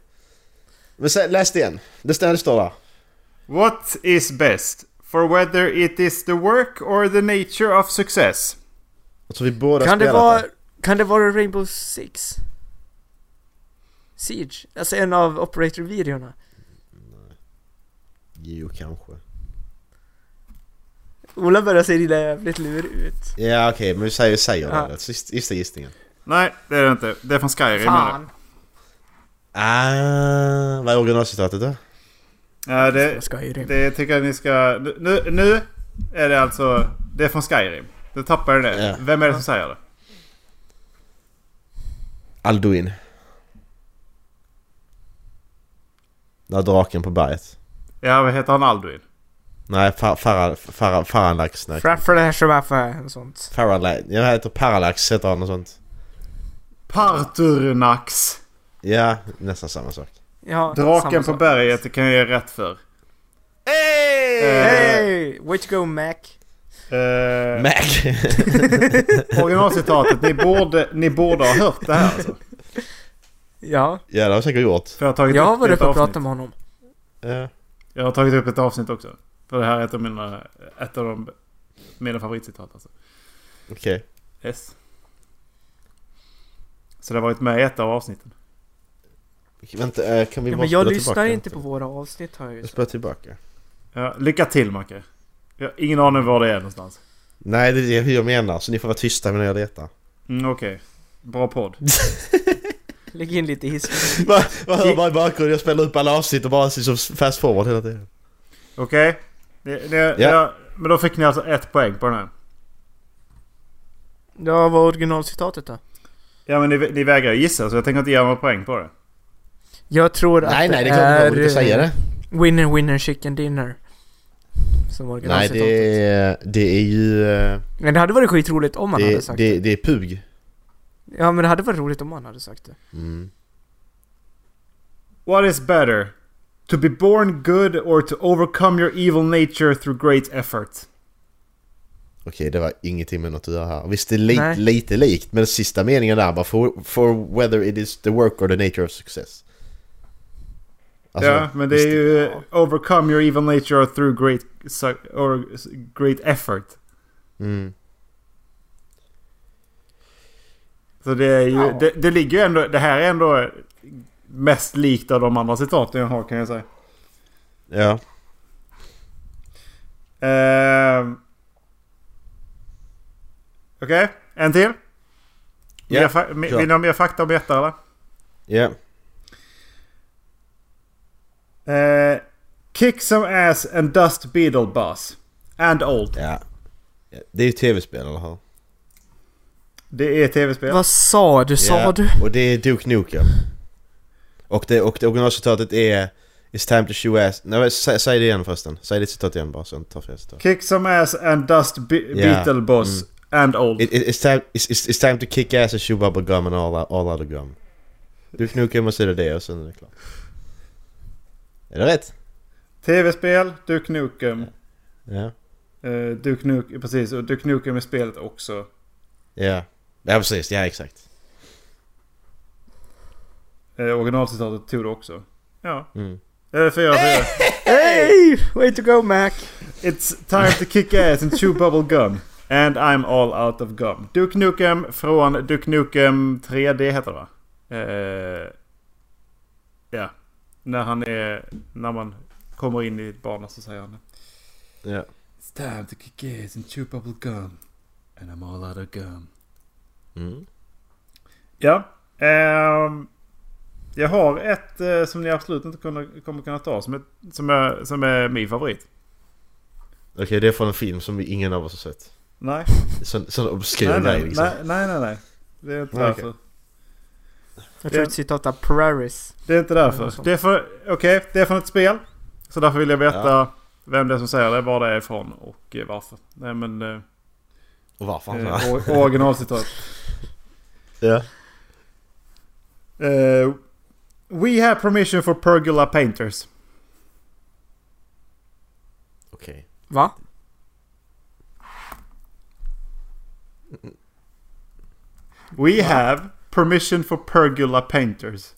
G: Men sen, läs det igen. Det står- det står där.
H: What is best? For whether it is the work or the nature of success?
G: Jag tror vi båda
F: kan, det
G: spelat alltså.
F: vara, kan det vara Rainbow Six? Siege? Alltså en av Operator-videorna.
G: Jo, kanske.
F: Ola börjar se jävligt lurig ut.
G: Ja, okej, men vi säger, säger
F: Ja.
G: det. Sista, sista gissningen.
H: Nej, det är det inte. Det är från Skyrim. menar
F: Fan!
G: Ah, vad är originalcitatet då?
H: jag. Ja, det,
F: Ska ju rymma.
H: det tycker jag ni ska... Nu, nu är det alltså... Det är från Skyrim. Du tappade det.
G: Ja.
H: Vem är det som säger det?
G: Alduin. När draken på berget.
H: Ja, vad heter han? Alduin?
G: Nej, fa- fara- fara- Faralax. nej.
F: Framför det här som är för och sånt.
G: Faralax. Jag heter Parallax, heter han och sånt.
H: Parturnax!
G: Ja, nästan samma sak.
F: Ja, samma
H: Draken på
F: sak.
H: berget, Eh. det kan jag ge rätt för.
F: Hey! Hey! Way to go Mac!
H: Eh,
G: Mac! <laughs>
H: originalcitatet, ni borde, ni borde ha hört det här alltså.
F: Ja,
G: ja, det har jag säkert gjort.
H: För jag har tagit
F: jag
H: upp
F: har
H: det i ett
F: varit uppe och
H: avsnitt.
F: pratat med honom.
G: Ja.
H: Jag har tagit upp ett avsnitt också. För det här är ett av mina, ett av de, mina favoritcitat alltså.
G: Okej.
H: Yes. Så det har varit med i ett av avsnitten.
G: Vänta, eh, kan vi
F: Ja,
G: bara
F: men jag
G: spola
F: lyssnar
G: tillbaka?
F: inte på våra avsnitt har jag ju
G: Jag
F: sagt.
G: spelar tillbaka.
H: Ja, lycka till Macke. Jag har ingen aning var det är någonstans.
G: Nej, det är det jag menar. Så ni får vara tysta medan jag letar. <laughs>
H: Mm, Okej. Bra podd.
F: Lägg in lite hiss.
G: Man man hör bara i bakgrunden, jag spelar upp alla avsnitt och bara liksom fast forward hela tiden.
H: Okej? Det- det-
G: Ja.
H: jag- Men då fick ni alltså ett poäng på den här.
F: Ja, vad var originalcitatet då?
H: Ja men ni, ni vägrar ju gissa så jag tänker inte ge er några poäng på det.
F: Jag tror att
G: Nej, nej, det är klart att
F: är
G: jag inte säga det.
F: eh, Winner winner chicken dinner. Som
G: Nej,
F: originalcitatet.
G: det är, det är ju... eh,
F: Men det hade varit skitroligt om han hade
G: Det,
F: sagt det,
G: det, det är PUG.
F: Ja men det hade varit roligt om han hade sagt det.
G: Mm.
H: What is better? To be born good or to overcome your evil nature through great effort?
G: Okej, det var ingenting med något att göra här. Visst, det är li-
F: Nej.
G: lite likt, men sista meningen där bara for, for whether it is the work or the nature of success. Alltså,
H: ja, men det är
G: visst-
H: ju eh, overcome your evil nature through great su- or s- great effort.
G: Mm.
H: Så det är ju,
F: Ja.
H: det, det ligger ju ändå, det här är ändå mest likt av de andra citaten jag har kan jag säga.
G: Ja.
H: Ehm. Okej, en till.
G: Ja,
H: Mer fa- mi-
G: kör.
H: Vill ni ha mer fakta om jättar eller?
G: Ja.
H: Eh, kick some ass and dust beetle bus. And old.
G: Ja. Ja, Det är ju tv-spel, eller hur?
H: Det är tv-spel.
F: Vad sa du? Sa
G: Ja,
F: du?
G: Och det är Duke Nukem. Och det, och det originalcitatet är It's time to show ass... Nej, men sä, säg det igen förresten. Säg ditt citat igen bara så jag inte tar fel citat.
H: Kick some ass and dust be-
G: Ja,
H: beetle bus. And old.
G: Mm. It, it, it's, time, it's, it's, it's time to kick ass and chew bubble gum and all, all other gum. Duke Nukem och så är det det och sen är det klart. Är det rätt?
H: Tv-spel, Duke Nukem.
G: Ja.
H: Eh, Duke Nukem, precis. Och Duke Nukem är spelet också.
G: Ja. Ja precis, ja exakt.
H: Eh, originalcitatet tog det också. Ja.
G: Mm.
H: Eh, fyra, fyra.
F: Hey! Way to go Mac!
H: It's time to kick ass and chew bubble gum. And I'm all out of gum. Duke Nukem från Duke Nukem 3D heter det va? Eh, ja. När han är... När man kommer in i ett barn så säger han
G: Ja.
H: It's time to kick ass and chew bubble gum. And I'm all out of gum.
G: Mm.
H: Ja. ehm, jag har ett eh, som ni absolut inte kunna, kommer kunna ta som är, som, är, som är min favorit.
G: Okej, det är från en film som ingen av oss har sett.
H: Nej.
G: Sån, sån obskyr
H: Nej,
G: grej
H: nej,
G: liksom.
H: nej, nej, nej, nej. Det är inte
G: Nej,
H: därför.
F: Jag tror
H: Ja.
F: ett citat av Prairies.
H: Det är inte därför. Det är för, okej, det är från ett spel. Så därför vill jag veta
G: Ja.
H: vem det är som säger det, var det är ifrån och eh, varför. Nej men... Eh,
G: Och varför?
H: eh,
G: Ja.
H: or- originalcitat.
G: Ja.
H: <laughs> Eh, we have permission for pergola painters.
G: Okej.
F: Va?
H: We have permission for pergola painters.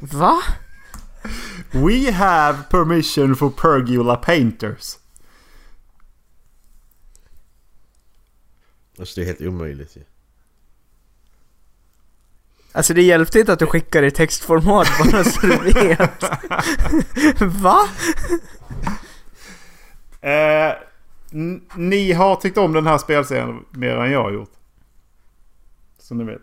F: Va?
H: We have permission for pergola painters.
G: Alltså det är helt omöjligt ju.
F: Alltså det hjälpte inte att du skickade i textformat bara så <laughs> du vet. Va?
H: Eh, n- ni har tyckt om den här spelserien mer än jag har gjort. Som ni vet.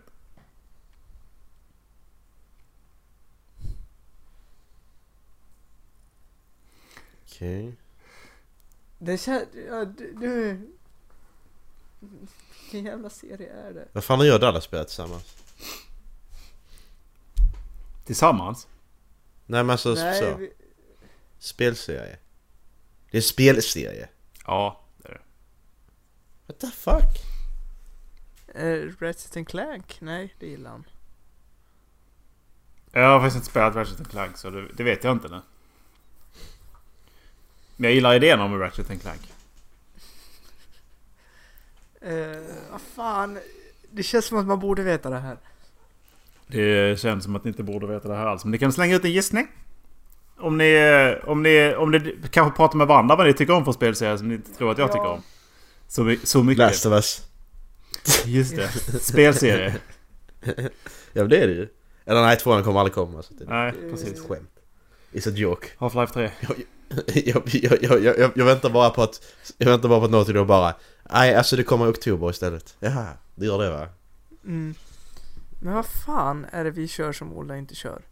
G: Okej.
F: Det känns... Ja, du, du... Vilken jävla serie är det?
G: Vad fan har jag och Dallas spelat tillsammans?
H: Tillsammans?
G: Nej men alltså så.
F: vi-
G: Spelserie. Det är en spelserie.
H: Ja, det är det.
G: What the fuck?
F: eh, Ratchet and Clank? Nej, det gillar han.
H: Jag har faktiskt inte spelat Ratchet Clank så det, det vet jag inte nu. Men jag gillar idén om Ratchet Clank.
F: Eh, vad fan? Det känns som att man borde veta det här.
H: Det känns som att ni inte borde veta det här alls. Men ni kan slänga ut en gissning. Om ni, om ni, om ni kanske pratar med varandra vad ni tycker om för spelserier som ni inte tror att jag tycker om. Så, my- så mycket.
G: Last of us.
H: Just det. Spelserie.
G: Ja men det är det ju. Eller nej, tvåan kommer aldrig komma. Så det är
H: Nej,
G: ett
H: precis.
G: skämt. It's a joke. <laughs>
H: Half-Life 3.
G: jag, jag, jag, jag, jag väntar bara på att... Jag väntar bara på att Naughty Dog bara... Nej, alltså det kommer i oktober istället. Jaha, det gör det va?
F: Mm. Men vad fan är det vi kör som Ola inte kör?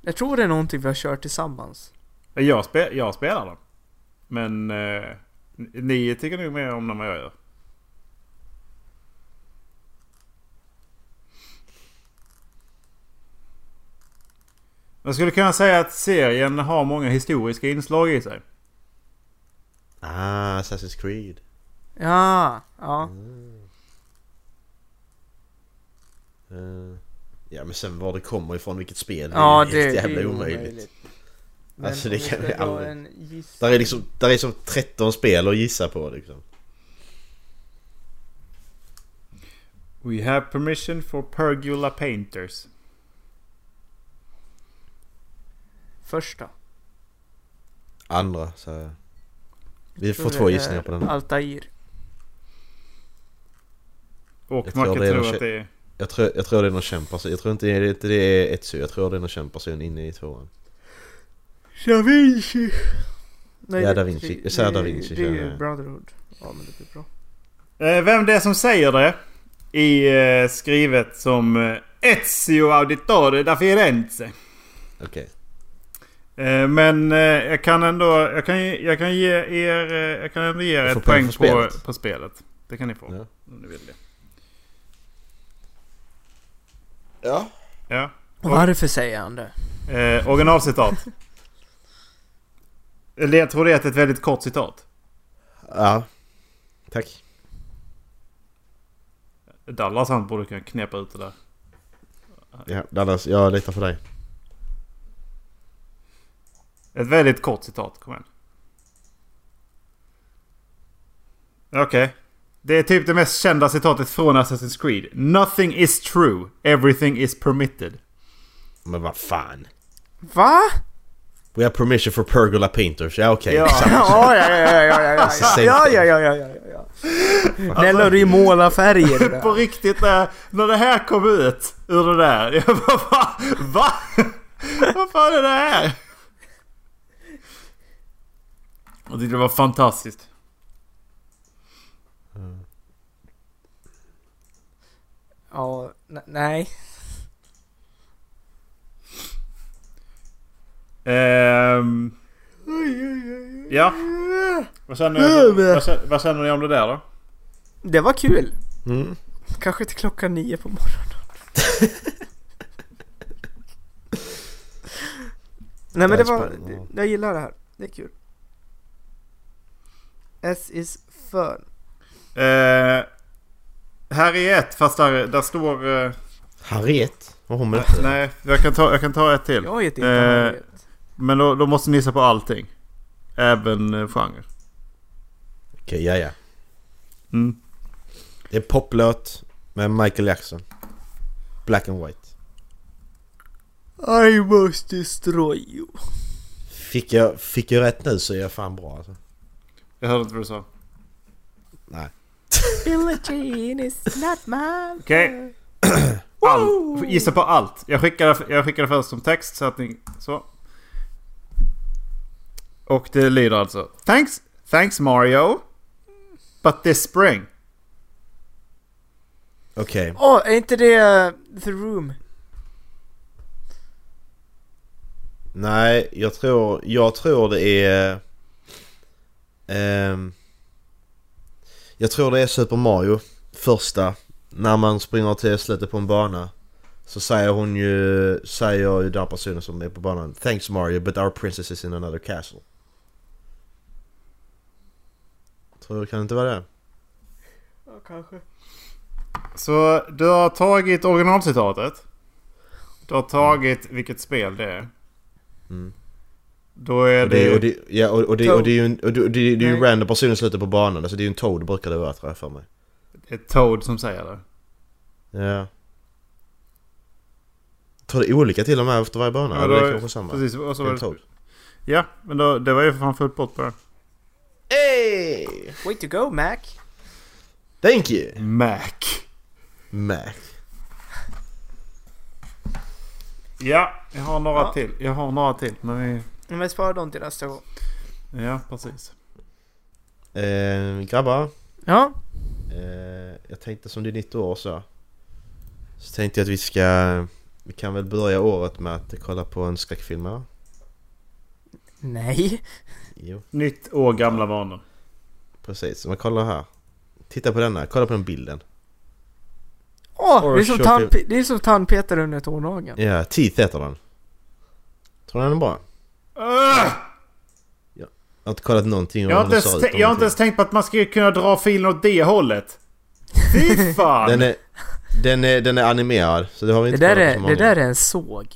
F: Jag tror det är någonting vi har kört tillsammans.
H: Jag, spe, jag spelar dem. Men eh, ni tycker nog mer om dem än vad jag gör. Jag skulle kunna säga att serien har många historiska inslag i sig.
G: Ah, Assassin's Creed.
F: Ja, ja.
G: Mm. Eh, ja men sen var det kommer ifrån, vilket spel,
F: Ja,
G: det
F: det
G: är
F: är
G: helt jävla
F: ju
G: omöjligt.
F: Men
G: Alltså,
F: om
G: det
F: vi
G: kan
F: ska
G: vi
F: dra
G: aldrig-
F: en giss-
G: Där är liksom, där är som 13 spel att gissa på liksom.
H: We have permission for pergola painters.
F: Första.
G: Andra så... Vi får
F: tror
G: två
F: det är
G: gissningar på den.
F: Altair.
H: Och
G: Jag
H: Macke
G: tror det är
H: tror
G: någon
H: att det är...
G: Jag tror, jag tror det är någon känd person. Jag tror inte det, inte det är Etsu. Jag tror det är någon känd person inne i tvåan.
F: Da Vinci! Nej,
G: Ja,
F: det-
G: Da Vinci. Jag
F: det-
G: säger Da Vinci.
F: Det är ju
G: känner jag.
F: Brotherhood. Ja men det blir bra.
H: Eh, Vem det är som säger det i eh, skrivet som eh, Ezio Auditore da Firenze.
G: Okej.
H: Eh, Men eh, jag kan ändå... Jag kan, ju- jag kan ge er... eh, Jag kan ändå ge er
G: Du får
H: ett
G: poäng
H: poäng
G: för
H: på
G: spelet.
H: spelet. på spelet. Det kan ni få.
G: Ja.
H: Om ni vill det.
G: Ja.
H: Ja.
F: Varför säger han det?
H: Eh,
G: <laughs>
H: originalcitat. Eller jag tror det är ett väldigt kort citat.
G: Ja. Tack.
H: Dallas han borde kunna knäppa ut det där.
G: Ja, Dallas, jag litar på dig.
H: Ett väldigt kort citat, kom igen. Okej. Det är typ det mest kända citatet från Assassin's Creed. Nothing is true, everything is permitted.
G: Men vad fan.
F: Va? <laughs>
G: We have permission for pergola painters. Ja okej.
H: Ja.
G: Samma sak.
F: Ja, ja, ja, ja, ja, ja,
G: Alltså, same
F: ja,
G: thing.
F: ja, ja, ja, ja, ja, ja. När la du i målarfärger där?
H: På riktigt, när, när det här kom ut ur det där. Jag bara, va? va? Vad fan är det här? Jag tyckte det var fantastiskt.
F: Ja, ne- nej.
H: Ehm, ja. Vad känner, vad, känner, vad känner ni om det där då?
F: Det var kul.
G: Mm.
F: Kanske till klockan nio på morgonen. Nej men det var, det- jag gillar det här. Det är kul. S is fun.
H: Eh, här är ett, fast där, där står... eh,
G: Harriet? Vad har hon med detta?
H: nej, jag kan, ta, jag kan ta ett till.
F: Jag vet inte
H: Eh,
F: om jag vet.
H: Men då, då måste ni gissa på allting. Även eh, genre.
G: Okej, ja ja.
H: Mm.
G: Det är en poplåt med Michael Jackson. Black and white.
F: I must destroy you.
G: Fick jag, fick jag rätt nu så är jag fan bra alltså.
H: Jag hörde inte vad du sa.
G: Nej.
F: Billie Jean is not mine.
H: <clears throat> Okej. Allt. Gissa på allt. Jag skickar, jag skickar det först som text så att ni... Så. Och det lyder alltså. Thanks, thanks Mario. But this spring.
G: Okej.
F: Åh, är inte det eh, The Room?
G: Nej, jag tror, jag tror det är... ehm, jag tror det är Super Mario. Första. När man springer till slutet på en bana. Så säger hon ju, säger ju den personen som är på banan Thanks Mario but our princess is in another castle. Tror det kan inte vara det.
F: Ja, kanske.
H: Så du har tagit originalcitatet. Du har tagit vilket spel det är.
G: Mm.
H: Då är
G: Och det, är-
H: det...
G: och det, ja, och, och det, och det är ju en, och det, och det, det är ju en
F: Nej.
G: random person i slutet på banan. Alltså det är ju en Toad brukar det vara tror jag för mig.
H: det är Toad som säger det.
G: Ja. Jag tror det är olika till och med efter varje bana.
H: Ja,
G: Eller
H: då-
G: det är kanske samma.
H: Precis, och så var
G: Det är en
H: det,
G: Toad.
H: ja, men då, det var ju för fan fullt bort på det.
G: Hey!
F: Way to go Mac.
G: Thank you!
H: Mac.
G: Mac.
H: Ja, jag har några
F: Ja.
H: till. Jag har några till. Men vi...
F: Men spara dem till nästa gång.
H: Ja, precis.
G: Eh, grabbar.
F: Ja.
G: Eh, jag tänkte som det är nytt år så. Så tänkte jag att vi ska... Vi kan väl börja året med att kolla på en skräckfilm va?
F: Nej.
G: Jo,
H: Nytt år, gamla vanor.
G: precis. Man kollar här. Titta på denna. Kolla på den bilden.
F: Åh,
G: Or
F: det, är som
G: short
F: tand, det är som tandpetare under tånageln.
G: Ja, Teeth heter den. Tror ni den är bra?
H: Ugh!
G: Jag har inte kollat någonting om
H: Ah! Jag har,
G: hur
H: inte ens,
G: den ser ut.
H: tä-
G: eller
H: jag har inte ens
G: någonting.
H: tänkt på att man skulle kunna dra filen åt det hållet.
G: <laughs>
H: Fy fan!
G: Den är, den, är, den är animerad, så det har vi
F: Det
G: inte
F: där,
G: kollat på så
F: är, det
G: många.
F: där är en såg.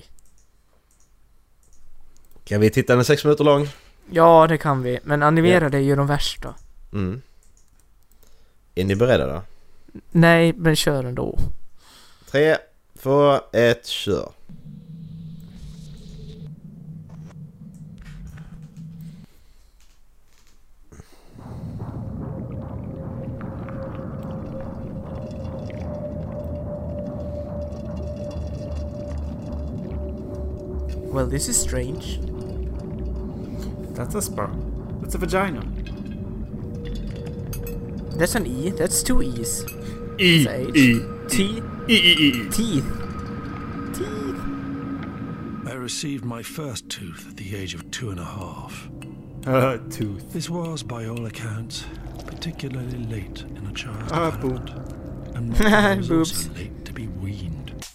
G: Kan vi titta den är sex minuter lång?
F: Ja, det kan vi. Men animerade är ju de värsta.
G: Mm. Är ni beredda då?
F: Nej, men kör ändå.
G: Tre, två, ett, kör!
F: Well, this is strange.
H: That's a sperm. That's a vagina.
F: That's an E. That's two E's.
H: E.
F: That's H.
H: E.
F: T.
H: E. E. E.
F: Teeth. Teeth.
K: I received my first tooth at the age of two and a half.
H: Uh, tooth.
K: This was, by all accounts, particularly late in a child's
H: Ah,
K: development. And Martin was
F: Boobs.
K: also late to be weaned.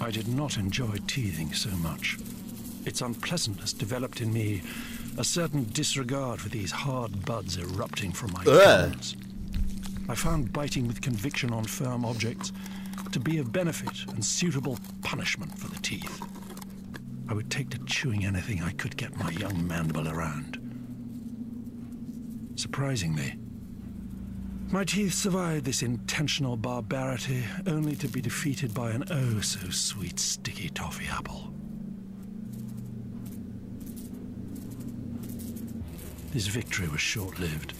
K: I did not enjoy teething so much. Its unpleasantness developed in me a certain disregard for these hard buds erupting from my gums. I found biting with conviction on firm objects to be of benefit and suitable punishment for the teeth. I would take to chewing anything I could get my young mandible around. Surprisingly, my teeth survived this intentional barbarity only to be defeated by an oh so sweet sticky toffee apple. This victory was short lived.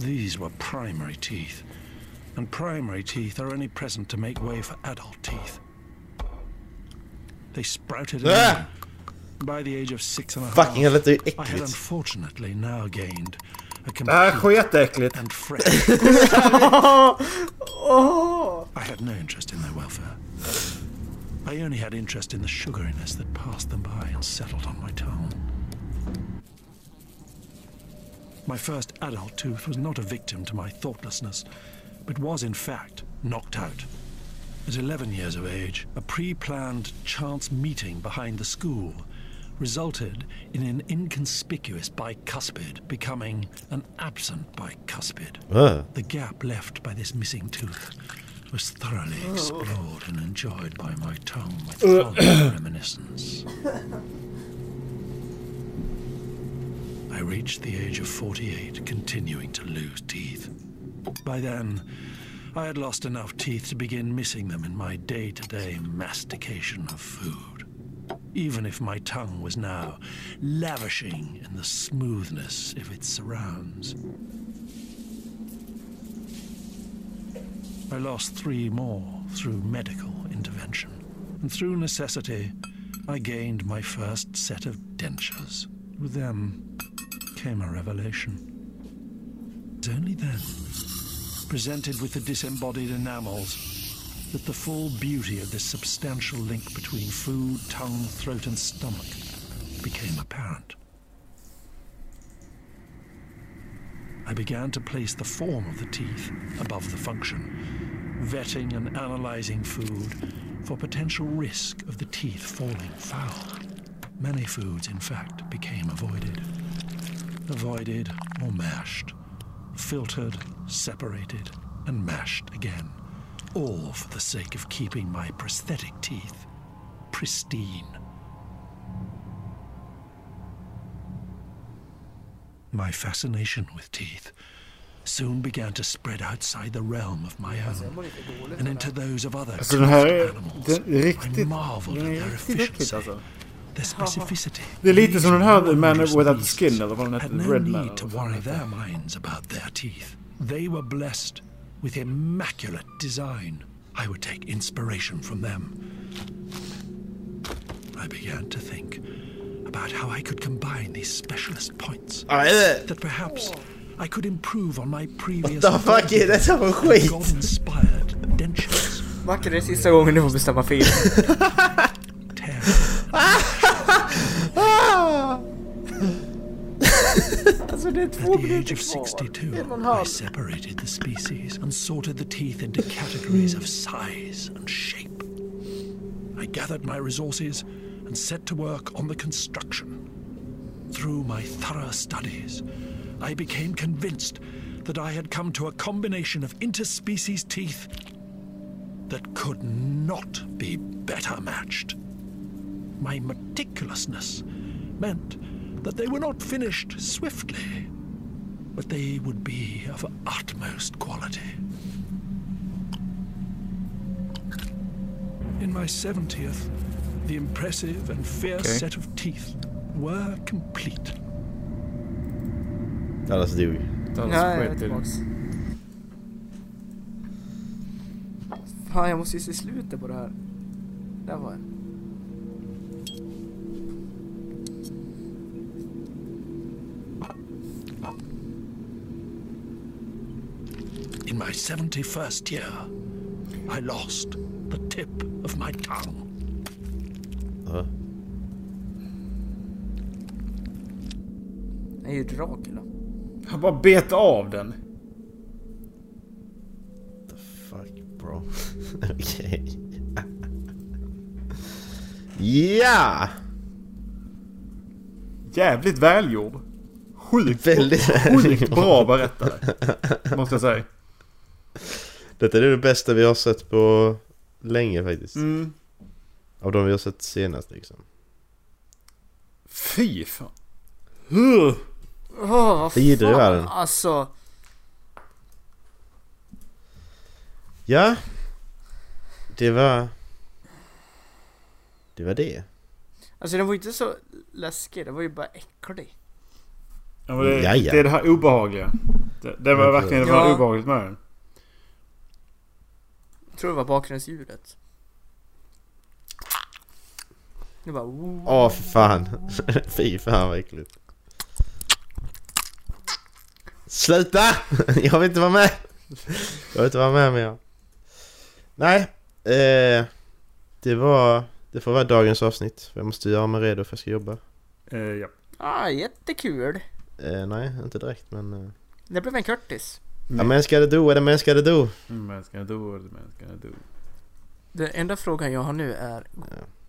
K: These were primary teeth, and primary teeth are only present to make way for adult teeth. They sprouted
G: Ah!
K: anew Äh! by the age of six and a half.
G: Fucking hell, det är ju
K: I had
G: äckligt.
K: unfortunately now gained a
G: Äh,
K: complete
G: skitäckligt.
K: and fresh. I had no interest in their welfare. I only had interest in the sugariness that passed them by and settled on my tongue. My first adult tooth was not a victim to my thoughtlessness, but was in fact knocked out. At 11 years of age, a pre planned chance meeting behind the school resulted in an inconspicuous bicuspid becoming an absent bicuspid.
G: Ugh.
K: The gap left by this missing tooth was thoroughly explored and enjoyed by my tongue with fond reminiscence. I reached the age of 48, continuing to lose teeth. By then, I had lost enough teeth to begin missing them in my day to day mastication of food. Even if my tongue was now lavishing in the smoothness of its surrounds. I lost three more through medical intervention, and through necessity, I gained my first set of dentures. With them came a revelation. It's only then, presented with the disembodied enamels, that the full beauty of this substantial link between food, tongue, throat, and stomach became apparent. I began to place the form of the teeth above the function, vetting and analyzing food for potential risk of the teeth falling foul. Many foods, in fact, became avoided. Avoided or mashed, filtered, separated, and mashed again. All for the sake of keeping my prosthetic teeth pristine. My fascination with teeth soon began to spread outside the realm of my own and into those of other
H: Alltså den här är,
K: toothed animals.
H: den är riktigt...
K: I
H: Den
K: marveled at
H: är
K: their
H: riktigt äckligt
K: efficiency,
H: alltså.
K: their specificity.
H: Det är lite som den här The Man
K: Wondrous
H: Without
K: beasts
H: Skin eller vad den
K: had
H: hette.
K: no
H: Red Man.
K: need
H: eller
K: to
H: vad fan
K: worry
H: hette.
K: their minds about their teeth. They were blessed with immaculate design. I would take inspiration from them. I began to think about how I could combine these specialist points.
G: Aj,
K: That perhaps I could improve on my previous.
G: äh, the fuck är detta för skit?
K: God-inspired dentures.
F: Macke, det är sista gången du får bestämma <laughs> fel.
K: Tear.
F: alltså det är två
K: At the age
F: minuter
K: of
F: kvar.
K: 62, I separated the species and sorted the teeth into categories of size and shape. I gathered my resources and set to work on the construction. Through my thorough studies, I became convinced that I had come to a combination of interspecies teeth that could not be better matched. My meticulousness meant that they were not finished swiftly, but they would be of utmost quality. In my 70th, the impressive and fierce
H: Okay.
K: set of teeth were complete.
G: Dallas dog.
H: Dallas
G: alltså,
F: Nej, jag är
H: skiter i det.
F: tillbaks. Fan, jag måste ju se slutet på det här. Där var jag.
K: In my 71st year, I lost the tip of my tongue.
G: Ja.
F: Det är ju Dracula.
H: Han bara bet av den.
G: Fuck bro. <laughs> Okej. Ja!
H: Jävligt välgjord. Sjukt,
G: Väldigt
H: sjukt
G: välgjord.
H: bra berättare. Måste jag säga.
G: Detta är det bästa vi har sett på länge faktiskt.
H: Mm.
G: Av de vi har sett senast liksom.
H: Fy fan.
F: Åh, vad
G: Det gillar ju världen.
F: Alltså.
G: Ja. Det var... Det var det.
F: Alltså den var ju inte så läskig, den var ju bara äcklig.
H: Ja, men det,
G: Jaja.
H: det är det här obehagliga. Det, det var
G: Ja,
H: verkligen det
F: ja.
H: var obehagligt med den.
F: Jag tror det var bakgrundsljudet. Det var oh.
G: Åh för fan. <laughs> Fy fan vad äckligt. Sluta! <laughs> Jag vill inte vara med! Jag vill inte vara med mer. Nej. Eh, det var... Det får vara dagens avsnitt. Jag måste göra mig redo för jag ska jobba.
H: Eh, ja.
F: Ah, jättekul.
G: Eh, nej, inte direkt men... Eh.
F: Det blev en Curtis.
G: A man's gotta do what a man's gotta do.
K: Mm,
H: Man's gonna do it, man's gonna do it.
F: Den enda frågan jag har nu är,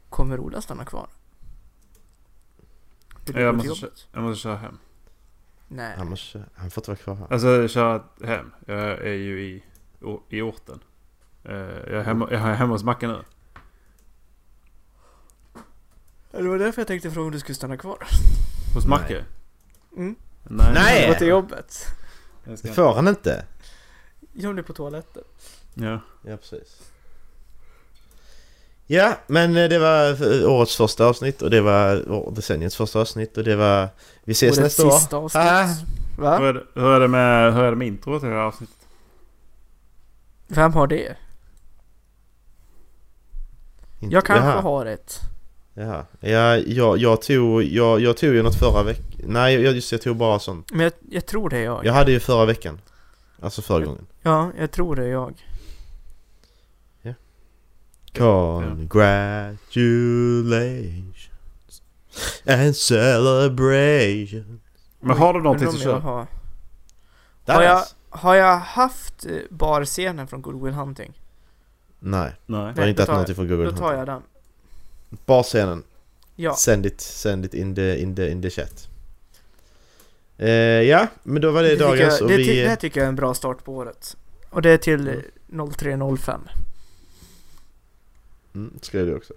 F: kommer Ola stanna kvar? Vill du
H: Jag
F: gå till
H: måste,
F: jobbet?
H: jag måste köra hem.
F: Nej.
G: Han, måste, han får inte vara kvar här.
H: Alltså köra hem. Jag är ju i, o- i orten. Eh, Jag är hemma, jag är hemma hos Mackan nu.
F: Det var därför jag tänkte fråga om du skulle stanna kvar.
H: Hos Macke?
F: Mm.
H: Nej!
G: Nej!
F: Gå till jobbet.
H: Jag ska
G: Det
H: inte.
G: får han inte.
F: Jag blir på toaletten.
H: Ja.
G: Ja, precis. Ja, men eh, det var eh, årets första avsnitt och det var å- decenniets första avsnitt och det var... Vi ses
F: Och det
G: nästa år.
F: sista avsnitt.
G: Ah.
F: Va?
H: Hur, är det, hur, är det med, hur är det med intro till det här avsnittet?
F: Vem har det?
G: Inte-
F: Jag kanske
G: Jaha,
F: har ett.
G: Jaha. Ja, jag, jag tog... Jag, jag tog ju något förra veckan. Nej, jag, just det, jag tog bara sånt.
F: Men jag, jag tror det är jag.
G: Jag
F: Ja.
G: hade ju förra veckan. Alltså förra gången.
F: jag tror det är jag.
G: Congratulations and celebration.
H: Men har du någonting
F: Undrar
H: som
F: om jag
H: kör?
F: har.
G: Där
F: Har
G: är
F: jag-
G: det.
F: har jag haft eh, barscenen från Good Will Hunting?
G: Nej,
H: Nej.
G: jag har
F: Nej,
G: inte
F: då
G: haft
F: tar-
G: någonting från Google.
F: Då tar jag den.
G: Barscenen.
F: Ja.
G: Send it, send it in the, in the, in the chat. Eh, ja, men då var det,
F: tycker
G: dagens
F: jag,
G: och
F: det,
G: vi...
F: ty- det här tycker jag är en bra start på året. Och det är till eh, 03.05.
G: Mm, skrev det också.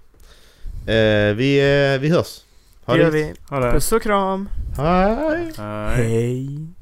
G: Eh, vi, eh, vi hörs.
F: Det gör
G: gött.
F: vi.
H: Har det?
F: Puss och kram.
G: Hej!
H: Nej.
F: Hej.